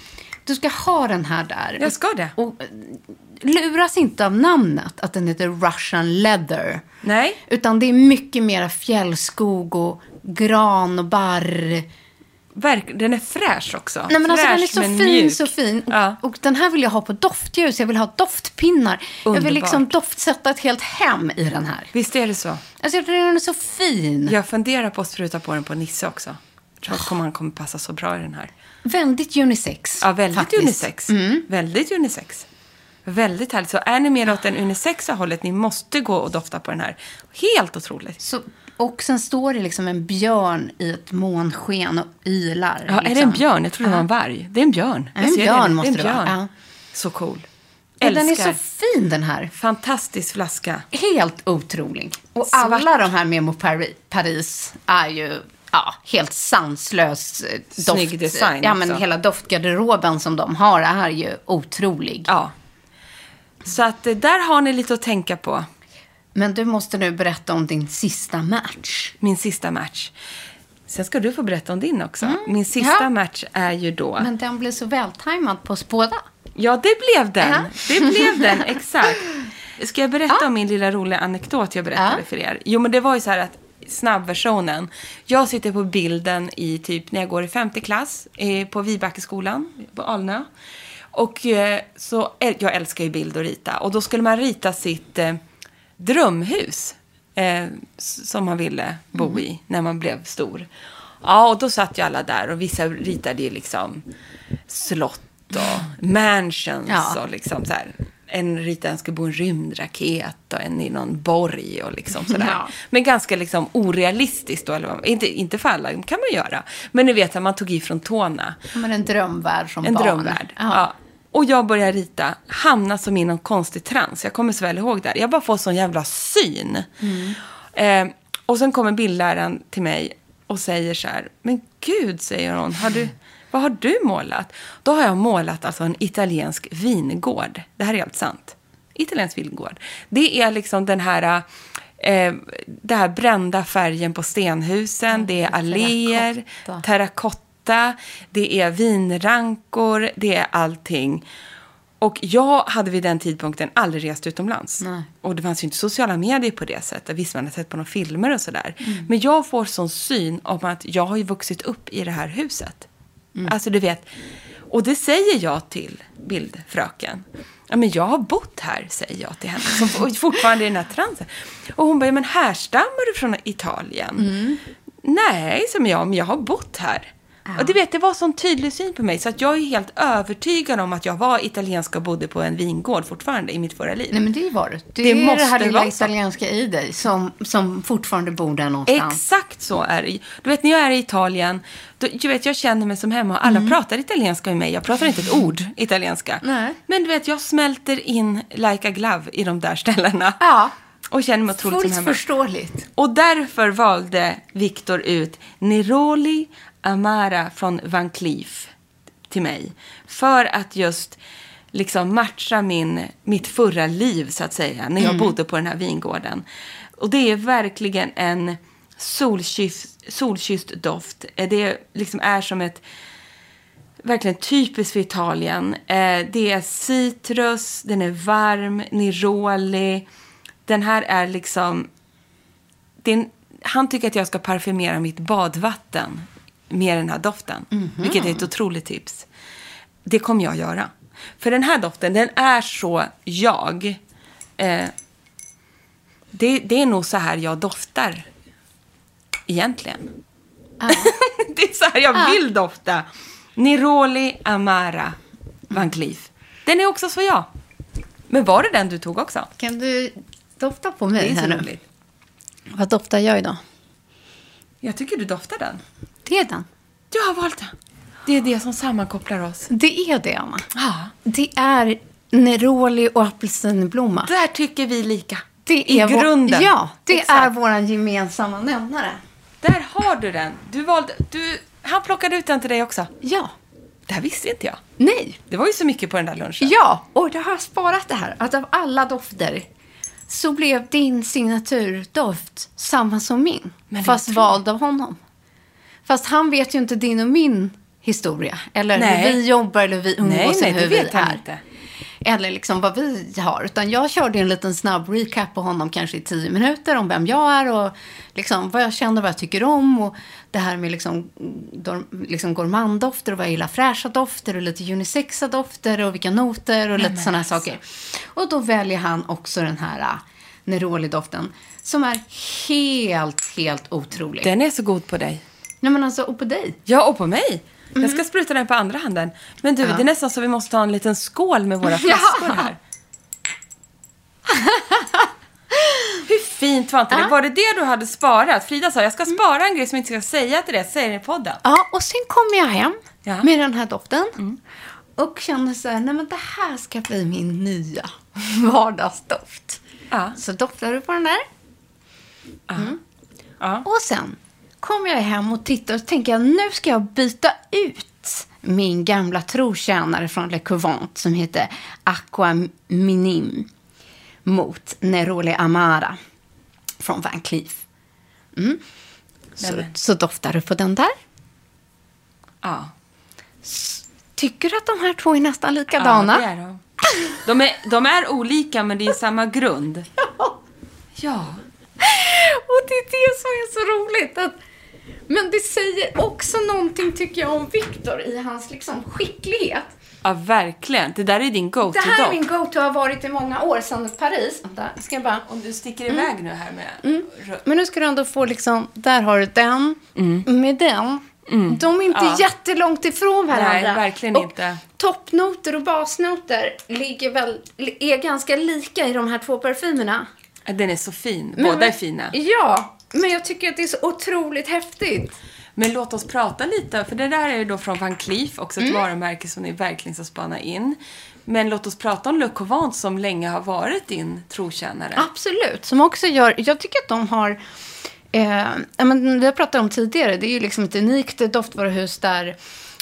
Du ska ha den här där. Jag ska det. Och eh, luras inte av namnet, att den heter Russian Leather. Nej. Utan det är mycket mera fjällskog och gran och barr. Verk, den är fräsch också. Nej, men alltså, fräsch den är så men fin, mjuk. så fin. Och, Ja. och den här vill jag ha på doftljus. Jag vill ha doftpinnar. Jag Underbart. vill liksom doftsätta ett helt hem i den här. Visst är det så? Alltså, jag tycker den är så fin. Jag funderar på att spruta på den på Nisse också. Jag Oh. tror att kommer- han kommer passa så bra i den här. Väldigt unisex. Ja, väldigt faktiskt. Mm. unisex. Väldigt unisex. Väldigt härligt. Så är ni mer åt den unisexa hållet, ni måste gå och dofta på den här. Helt otroligt. Så, och sen står det liksom en björn i ett månsken och ylar. Ja, liksom. är det en björn? Jag tror det var en varg. Det är en björn. Ja, Jag en ser björn den. måste det det vara. är en björn. Ja. Så cool. Ja, den är Älskar. så fin den här. Fantastisk flaska. Helt otrolig. Och Svart. alla de här Memo Pari- Paris är ju ja, helt sanslös eh, doft. Snygg design Ja, men också. hela doftgarderoben som de har är ju otrolig. Ja. Så att eh, där har ni lite att tänka på. Men du måste nu berätta om din sista match. Min sista match. Sen ska du få berätta om din också. Min sista Mm. Ja. match är ju då... Men den blev så vältajmad på oss båda. Ja, det blev den. Ja. Det blev den, exakt. Ska jag berätta om min lilla roliga anekdot jag berättade Ja. för er? Jo, men det var ju så här att snabbversionen. Jag sitter på bilden i typ när jag går i femte klass eh, på Vibackeskolan på Alnö. Och eh, så, äl- jag älskar ju bild och rita. Och då skulle man rita sitt eh, drömhus eh, s- som man ville bo Mm. i när man blev stor. Ja, och då satt ju alla där och vissa ritade ju liksom slott och mansions Ja. och liksom så här. En ritade en skulle bo i en rymdraket och en i någon borg och liksom sådär. Ja. Men ganska liksom orealistiskt då, eller vad, inte, inte för alla, det kan man göra. Men ni vet att man tog ifrån tårna. Men en drömvärld som En barn. drömvärld. Ja. Ja. Och jag börjar rita, hamnar som i någon konstig trans. Jag kommer så väl ihåg det här. Jag bara får sån jävla syn. Eh, och sen kommer bildläraren till mig och säger så här, men gud, säger hon, har du, vad har du målat? Då har jag målat alltså en italiensk vingård. Det här är helt sant. Italiensk vingård. Det är liksom den här, eh, det här brända färgen på stenhusen, det är alléer, terrakotta. terrakotta, det är vinrankor, det är allting. Och jag hade vid den tidpunkten aldrig rest utomlands. Nej. Och det fanns ju inte sociala medier på det sättet. Visst, man hade sett på några filmer och sådär. Men jag får sån syn om att jag har ju vuxit upp i det här huset. Mm. Alltså, du vet. Och det säger jag till bildfröken. Ja, men jag har bott här, säger jag till henne. Som f- fortfarande är i den här transen. Och hon bara, ja, men härstammar du från Italien? Mm. Nej, som jag, men jag har bott här. Och du vet, det var sån tydlig syn på mig. Så att jag är ju helt övertygad om att jag var italiensk och bodde på en vingård fortfarande i mitt förra liv. Nej, men det var du. Det, Det är det måste här lilla vara så. italienska i dig som, som fortfarande bor där någonstans. Exakt så är det. Du vet, när jag är i Italien, då, du vet, jag känner mig som hemma och alla Mm. pratar italienska med mig. Jag pratar inte ett ord italienska. Nej. Men du vet, jag smälter in like a glove i de där ställena. Ja. Och känner mig otroligt som Fullt hemma. förståeligt. Och därför valde Victor ut Neroli Amara från Van Cleef till mig. För att just liksom matcha min, mitt förra liv, så att säga, när jag bodde på den här vingården. Och det är verkligen en solkysst, solkysst doft. Eh, Det liksom är som ett verkligen typiskt för Italien. Eh, det är citrus, den är varm, Neroli. Den här är liksom det är en, han tycker att jag ska parfymera mitt badvatten med den här doften. Mhm. Vilket är ett otroligt tips. Det kommer jag göra. För den här doften, den är så jag. Eh, det, det är nog så här jag doftar. Egentligen. det är så här jag vill dofta. Neroli Amara Van Cleef. Den är också så jag. Men var det den du tog också? Kan du dofta på mig Det är här så nu? roligt. Vad doftar jag idag? Jag tycker du doftar den. Det är den. Du har valt den. Det är det som sammankopplar oss. Det är det, Anna. Ja. Det är neroli och apelsinblomma. Där tycker vi lika. Det I är vår- grunden. Ja, det Exakt. är vår gemensamma nämnare. Där har du den. Du valde... Du, han plockade ut den till dig också. Ja. Det här visste inte jag. Nej. Det var ju så mycket på den där lunchen. Ja, och då har jag sparat det här. Att av alla dofter så blev din signaturdoft samma som min. Men det fast tror jag. vald av honom. Fast han vet ju inte din och min historia. Eller Nej. hur vi jobbar eller vi umgås Nej, nej, eller det hur vi vet han är. inte. Eller liksom vad vi har. Utan jag körde en liten snabb recap på honom kanske i tio minuter om vem jag är och liksom vad jag känner, vad jag tycker om och det här med liksom, dorm, liksom gourmanddofter och vad jag gillar fräscha dofter och lite unisexa dofter och vilka noter och lite sådana här saker. Och då väljer han också den här äh, Neroli-doften som är helt, helt otrolig. Den är så god på dig. Nej men alltså, och på dig. Ja, och på mig. Jag ska spruta den på andra handen. Men du, Mm. Ja. det är nästan så vi måste ha en liten skål med våra flaskor Ja. här. Hur fint var inte det? Ja. Mm. Var det det du hade sparat? Frida sa jag ska spara en grej som jag inte ska säga till dig. Säg det i podden. Ja, och sen kommer jag hem Ja. Mm. med den här doften och känner så här, nej men det här ska bli min nya vardagsdoft. Ja. Så doftar du på den där Mm. Ja. och sen kommer jag hem och tittar och tänker jag, nu ska jag byta ut min gamla trotjänare från Le Couvent som heter Aqua Minim mot Neroli Amara från Van Cleef. Mm. Så, Nämen. så doftar du på den där. ja. Tycker du att de här två är nästan Ja, likadana? det är de. De är, de är olika men det är samma grund. Ja. Och det är det som är så roligt. Att, men det säger också någonting, tycker jag, om Viktor i hans liksom, skicklighet. Ja, verkligen. Det där är din Det här är go-to-dog. min go-to, har varit i många år sedan Paris. Vänta, ska jag bara... Om du sticker Mm. iväg nu här med... Men nu ska du ändå få liksom, där har du den, med den. De är inte Mm. Ja. jättelångt ifrån varandra. Nej, verkligen och inte. Toppnoter och basnoter ligger väl, är ganska lika i de här två parfymerna. Äh, Den är så fin. Men- Båda är fina. Ja, men jag tycker att det är så otroligt häftigt. Men låt oss prata lite, för det där är ju då från Van Cleef, också ett Mm. varumärke som ni verkligen ska spana in. Men låt oss prata om Le Covant som länge har varit din trotjänare. Absolut, som också gör, jag tycker att de har, eh, ja, men vi har pratat om tidigare, det är ju liksom ett unikt doftvaruhus där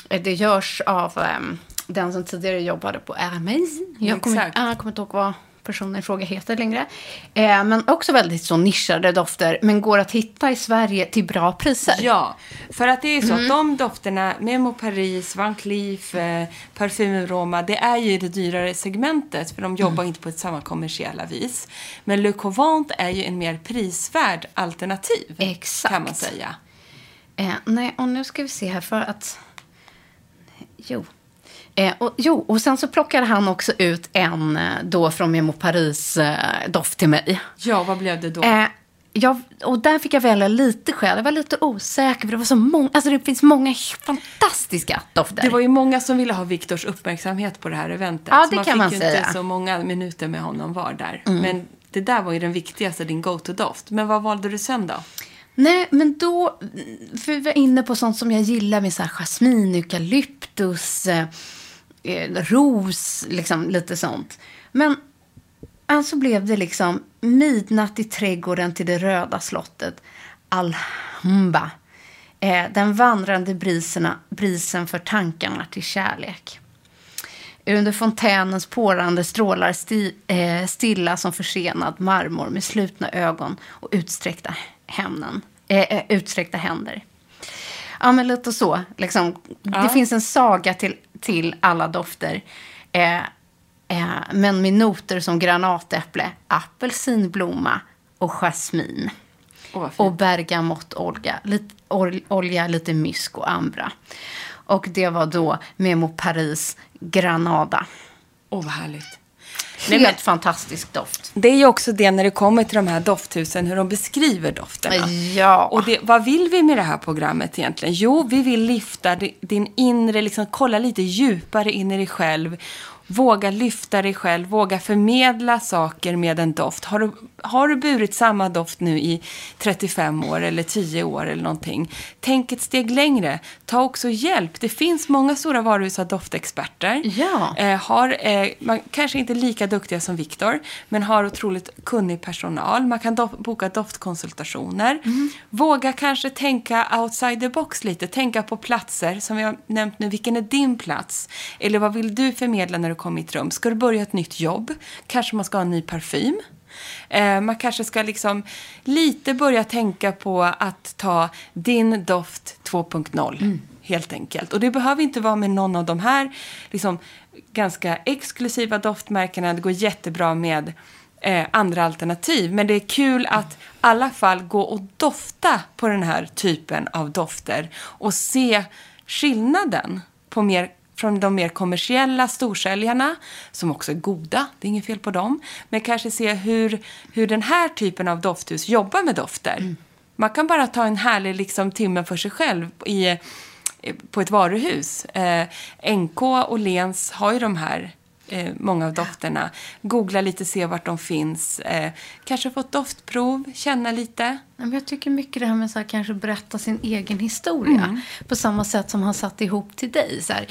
eh, det görs av ehm, den som tidigare jobbade på Hermes. Jag kommer, Mm, Exakt. ah, jag kommer inte ihåg vad personen i fråga heter längre. Eh, men också väldigt så nischade dofter, men går att hitta i Sverige till bra priser. Ja, för att det är ju Mm. så att de dofterna, Memo Paris, Van Cleef, eh, Parfym Roma, det är ju i det dyrare segmentet för de jobbar Mm. inte på ett samma kommersiella vis. Men Le Covant är ju en mer prisvärd alternativ, kan man Exakt. säga. Eh, nej, och nu ska vi se här för att... Jo. Eh, och, jo, och sen så plockade han också ut en eh, då från Memo Paris eh, doft till mig. Ja, vad blev det då? Eh, jag, och där fick jag välja lite själv. Jag var lite osäker för det var så många, alltså det finns många fantastiska dofter. Det var ju många som ville ha Viktors uppmärksamhet på det här eventet. Ja, så det man kan fick man ju säga. Mm. inte så många minuter med honom var där. Men det där var ju den viktigaste, din go-to-doft. Men vad valde du sen då? Nej, men då, för vi var inne på sånt som jag gillar med så här jasmin, eukalyptus, eh, eh, ros, liksom lite sånt. Men alltså blev det liksom midnatt i trädgården till det röda slottet, Alhambra. Eh, den vandrande briserna, brisen för tankarna till kärlek. Under fontänens porande strålar sti, eh, stilla som försenad marmor med slutna ögon och utsträckta, hämnen, eh, eh, utsträckta händer. Ja, men lite så. Liksom, Det finns en saga till, till alla dofter. Eh, eh, men med noter som granatäpple, apelsinblomma och jasmin. Åh, vad fint. och bergamottolja, lite, ol- olja, lite mysk och ambra. Och det var då Memo Paris Granada. Åh, vad härligt. Helt fantastisk doft. Det är ju också det när det kommer till de här dofthusen, hur de beskriver dofterna. Ja. Och det, vad vill vi med det här programmet egentligen? Jo, vi vill lyfta di- din inre, liksom kolla lite djupare in i dig själv. Våga lyfta dig själv, våga förmedla saker med en doft. Har du, har du burit samma doft nu i 35 år eller 10 år eller någonting? Tänk ett steg längre. Ta också hjälp. Det finns många stora varuhus av doftexperter. Ja. Eh, har, eh, man kanske inte är lika duktiga som Viktor, men har otroligt kunnig personal. Man kan dof- boka doftkonsultationer. Våga kanske tänka outside the box lite. Tänka på platser, som vi har nämnt nu. Vilken är din plats? Eller vad vill du förmedla när du kommer i ett rum? Ska du börja ett nytt jobb? Kanske man ska ha en ny parfym? Eh, man kanske ska liksom lite börja tänka på att ta din doft 2.0. Helt enkelt. Och det behöver inte vara med någon av de här liksom, ganska exklusiva doftmärkena. Det går jättebra med eh, andra alternativ. Men det är kul att i alla fall gå och dofta på den här typen av dofter och se skillnaden på mer från de mer kommersiella storsäljarna, som också är goda, det är inget fel på dem. Men kanske se hur, hur den här typen av dofthus jobbar med dofter. Man kan bara ta en härlig liksom, timme för sig själv i, eh, på ett varuhus. Eh, NK och Lens har ju de här eh, många av dofterna. Googla lite, se vart de finns. Eh, kanske få ett doftprov, känna lite. Ja, men Jag tycker mycket det här med så här, kanske berätta sin egen historia. På samma sätt som han satte ihop till dig. Så här,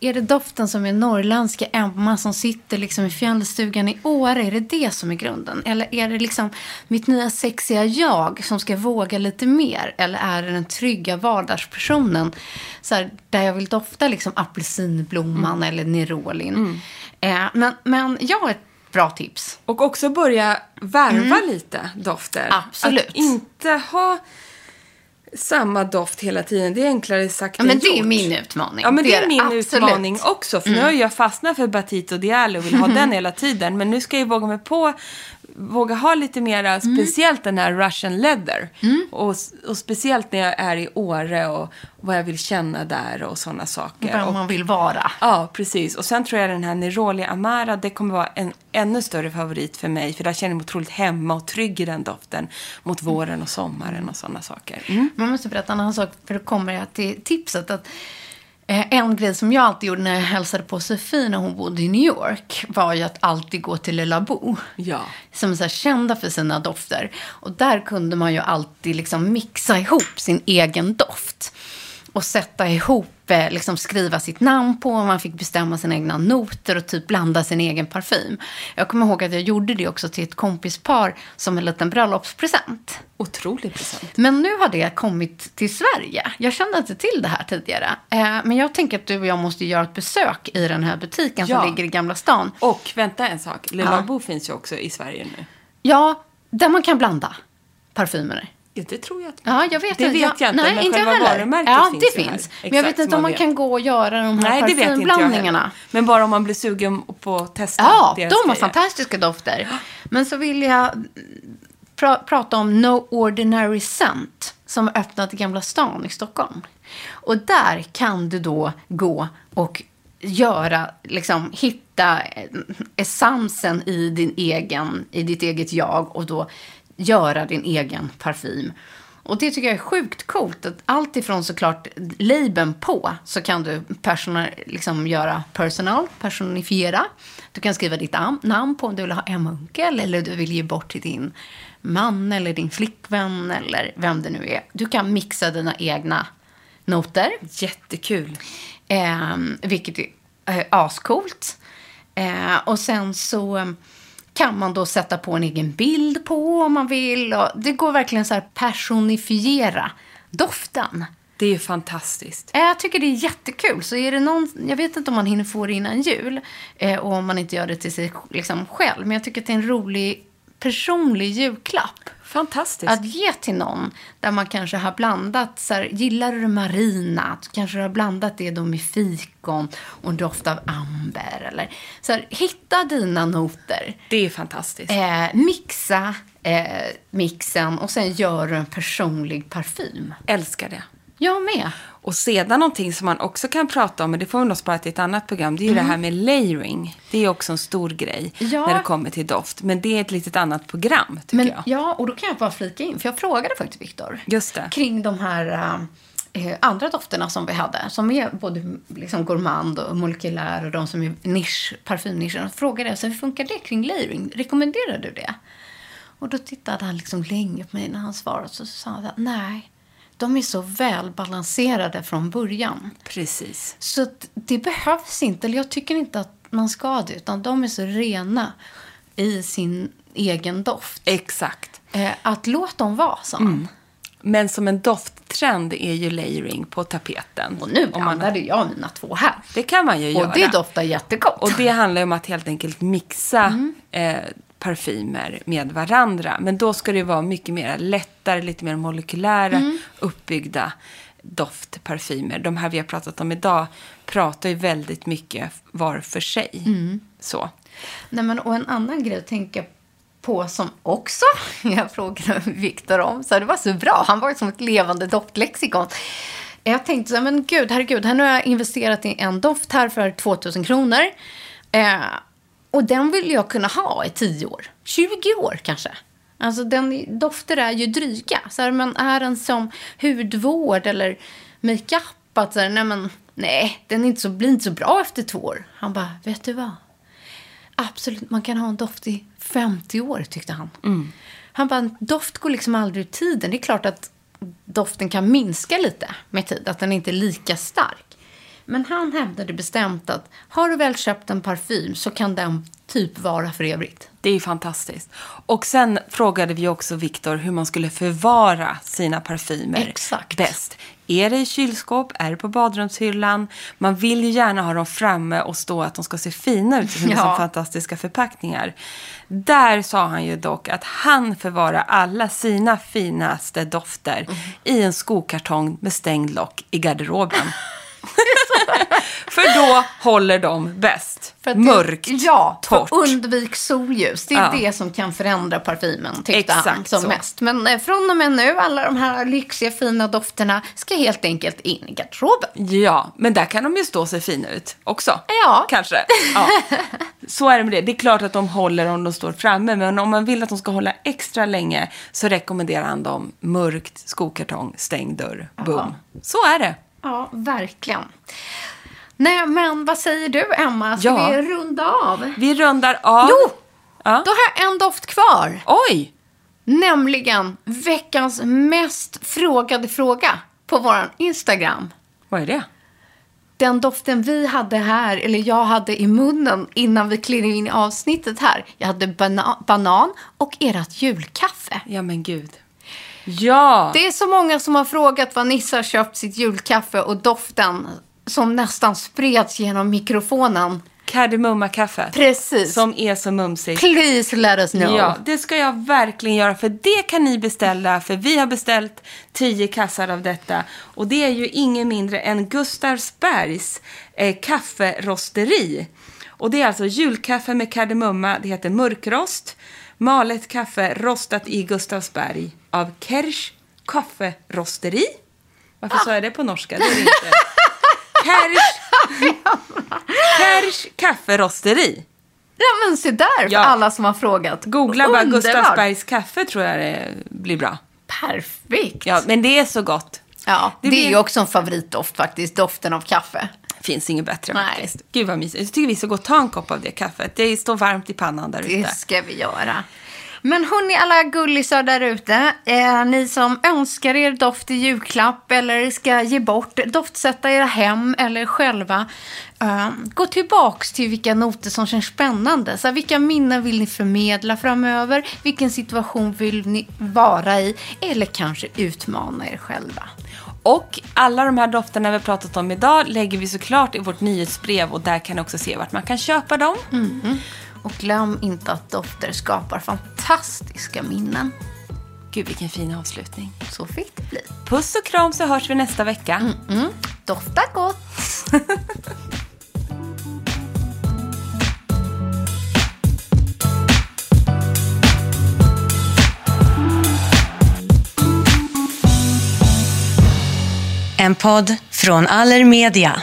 är det doften som är norrländska Emma som sitter liksom i fjällstugan i Åre? Är det det som är grunden? Eller är det liksom mitt nya sexiga jag som ska våga lite mer? Eller är det den trygga vardagspersonen? Så här, där jag vill dofta liksom apelsinblomman eller nerolin. Eh, men, men jag har ett bra tips. Och också börja värva lite dofter. Mm. Absolut. Att inte ha samma doft hela tiden. Det är enklare sagt Ja, än men det är gjort. min utmaning. Ja, men det, är min absolut. Mm. utmaning också. För nu har jag fastnat för Batito Diallo och vill ha den hela tiden. Men nu ska jag våga mig på, våga ha lite mera, Mm. speciellt den här Russian Leather. Och, och speciellt när jag är i Åre och vad jag vill känna där och sådana saker. Vem Och- man vill vara. Ja, precis. Och sen tror jag den här Neroli Amara, det kommer vara en ännu större favorit för mig. För där känner jag mig otroligt hemma och trygg i den doften. Mot våren och sommaren och sådana saker. Mm. Man måste berätta en annan sak, för då kommer jag till tipset. Att, eh, en grej som jag alltid gjorde när jag hälsade på Sofie när hon bodde i New York var ju att alltid gå till Le Labo. Ja. Som är så här kända för sina dofter. Och där kunde man ju alltid liksom mixa ihop sin egen doft. Och sätta ihop, eh, liksom skriva sitt namn på. Man fick bestämma sina egna noter och typ blanda sin egen parfym. Jag kommer ihåg att jag gjorde det också till ett kompispar som en liten bröllopspresent. Otrolig present. Men nu har det kommit till Sverige. Jag kände inte till det här tidigare. Eh, men jag tänker att du och jag måste göra ett besök i den här butiken Ja. som ligger i Gamla stan. Och vänta en sak, Le Ja. Labo finns ju också i Sverige nu. Ja, där man kan blanda parfymer. Ja, det tror jag att Ja, jag vet Det vet jag inte, nej, men inte jag själva heller. varumärket ja, finns det ju här. finns. Men jag vet Exakt, inte som om man man vet. kan gå och göra de här Nej, det vet inte jag heller. parfymblandningarna. Men bara om man blir sugen på att testa Ja, deras de har grejer. fantastiska dofter. Men så vill jag pra- prata om No Ordinary Scent som är öppnat i Gamla stan i Stockholm. Och där kan du då gå och göra, liksom hitta eh, essensen i, din egen, i ditt eget jag och då göra din egen parfym. Och det tycker jag är sjukt coolt. Att allt ifrån såklart labeln på så kan du personal, liksom göra personal, personifiera. Du kan skriva ditt am- namn på om du vill ha en munkel eller du vill ge bort till din man eller din flickvän eller vem det nu är. Du kan mixa dina egna noter, Jättekul. eh, vilket är eh, ascoolt. Eh, och sen så eh, kan man då sätta på en egen bild på om man vill. Och det går verkligen så här personifiera doften. Det är ju fantastiskt. Eh, Jag tycker det är jättekul. Så är det någon, jag vet inte om man hinner få det innan jul eh, och om man inte gör det till sig liksom, själv. Men jag tycker att det är en rolig personlig julklapp Fantastiskt. att ge till någon där man kanske har blandat, så här, gillar du det marina, så kanske du har blandat det då med fikon och en doft av amber. Eller, så här, hitta dina noter. Det är fantastiskt. Eh, mixa eh, mixen och sen gör du en personlig parfym. Älskar det. Jag med. Och sedan någonting som man också kan prata om, men det får vi nog spara till ett annat program, det är ju det här med layering. Det är också en stor grej Mm. Ja. när det kommer till doft. Men det är ett litet annat program, tycker Men, jag. Ja, och då kan jag bara flika in, för jag frågade faktiskt Viktor Just det. kring de här eh, andra dofterna som vi hade, som är både liksom gourmand och molekylär och de som är nisch, parfymnischen, frågade jag så hur funkar det kring layering? Rekommenderar du det? Och då tittade han liksom länge på mig när han svarade så sa han att nej, de är så välbalanserade från början. Precis. Så att det behövs inte, eller jag tycker inte att man ska det, utan de är så rena i sin egen doft. Exakt. Eh, att låt dem vara, sa han. Mm. Men som en dofttrend är ju layering på tapeten. Och nu blandade jag mina två här. Det kan man ju Och göra. det doftar jättegott. Och det handlar ju om att helt enkelt mixa eh, parfymer med varandra. Men då ska det ju vara mycket mer lättare, lite mer molekylära, uppbyggda doftparfymer. De här vi har pratat om idag pratar ju väldigt mycket var för sig. Så. Nej, men, och en annan grej att tänka på som också jag frågade Viktor om. Så här, det var så bra. Han var som ett levande doftlexikon. Jag tänkte så här, men gud, herregud, här nu har jag investerat i en doft här för 2000 kronor. Eh, och den vill jag kunna ha i 10 år, 20 år kanske. Alltså den, dofter är ju dryga. Så här, men är den som hudvård eller makeup? Att så här, nej, men, nej, den är inte så, blir inte så bra efter två år. Han bara, vet du vad? Absolut, man kan ha en doft i 50 år, tyckte han. Mm. Han bara, doft går liksom aldrig ur tiden. Det är klart att doften kan minska lite med tid, att den inte är lika stark. Men han hävdade bestämt att har du väl köpt en parfym så kan den typ vara för evigt. Det är ju fantastiskt. Och sen frågade vi också Viktor hur man skulle förvara sina parfymer Exakt. bäst. Är det i kylskåp? Är det på badrumshyllan? Man vill ju gärna ha dem framme och stå att de ska se fina ut som Ja. ja. fantastiska förpackningar. Där sa han ju dock att han förvarar alla sina finaste dofter Mm. i en skokartong med stängd lock i garderoben. För då håller de bäst. För att det- Mörkt, ja, torrt. För undvik solljus. Det är Ja. det som kan förändra parfymen, tyckte han Exakt som så. mest. Men eh, från och med nu, alla de här lyxiga fina dofterna ska helt enkelt in i garderoben. Ja, men där kan de ju stå sig fina ut också. Ja. Kanske. Ja. Så är det med det. Det är klart att de håller om de står framme, men om man vill att de ska hålla extra länge så rekommenderar han dem mörkt, skokartong, stängd dörr, boom. Så är det. Ja, verkligen. Nej, men vad säger du, Emma? Ska Ja. vi runda av? Vi rundar av. Jo! Ja. Då har jag en doft kvar. Oj! Nämligen veckans mest frågade fråga på vår Instagram. Vad är det? Den doften vi hade här, eller jag hade i munnen innan vi klev in i avsnittet här. Jag hade bana- banan och ert julkaffe. Ja, men gud. Ja! Det är så många som har frågat var Nisse har köpt sitt julkaffe och doften som nästan spreds genom mikrofonen. Kardemummakaffet. Precis. Som är så mumsigt. Please let us know. Ja, det ska jag verkligen göra. För det kan ni beställa. För vi har beställt 10 kassar av detta. Och det är ju ingen mindre än Gustavsbergs eh, kafferosteri. Och det är alltså julkaffe med kardemumma. Det heter mörkrost. Malet kaffe rostat i Gustavsberg av Kersch kafferosteri. Varför sa jag det på norska? Det är det inte. Kersch, Kersch kafferosteri. Ja, men se där för Ja. alla som har frågat. Googla bara Underbart. Gustavsbergs kaffe tror jag det blir bra. Perfekt. Ja, men det är så gott. Ja, det, det är blir- ju också en favoritdoft faktiskt, doften av kaffe. Finns inget bättre Nej. faktiskt. Gud vad mysigt. Jag tycker vi ska gå och ta en kopp av det kaffet. Det står varmt i pannan där Det ute. ska vi göra. Men hörni alla gullisar där ute, eh, ni som önskar er doft i julklapp eller ska ge bort, doftsätta era hem eller själva. Eh, gå tillbaks till vilka noter som känns spännande. Så här, vilka minnen vill ni förmedla framöver? Vilken situation vill ni vara i? Eller kanske utmana er själva. Och alla de här dofterna vi har pratat om idag lägger vi såklart i vårt nyhetsbrev och där kan ni också se vart man kan köpa dem. Och glöm inte att dofter skapar fantastiska minnen. Gud vilken fin avslutning. Så fick det bli. Puss och kram så hörs vi nästa vecka. Dofta gott! En podd från Allermedia.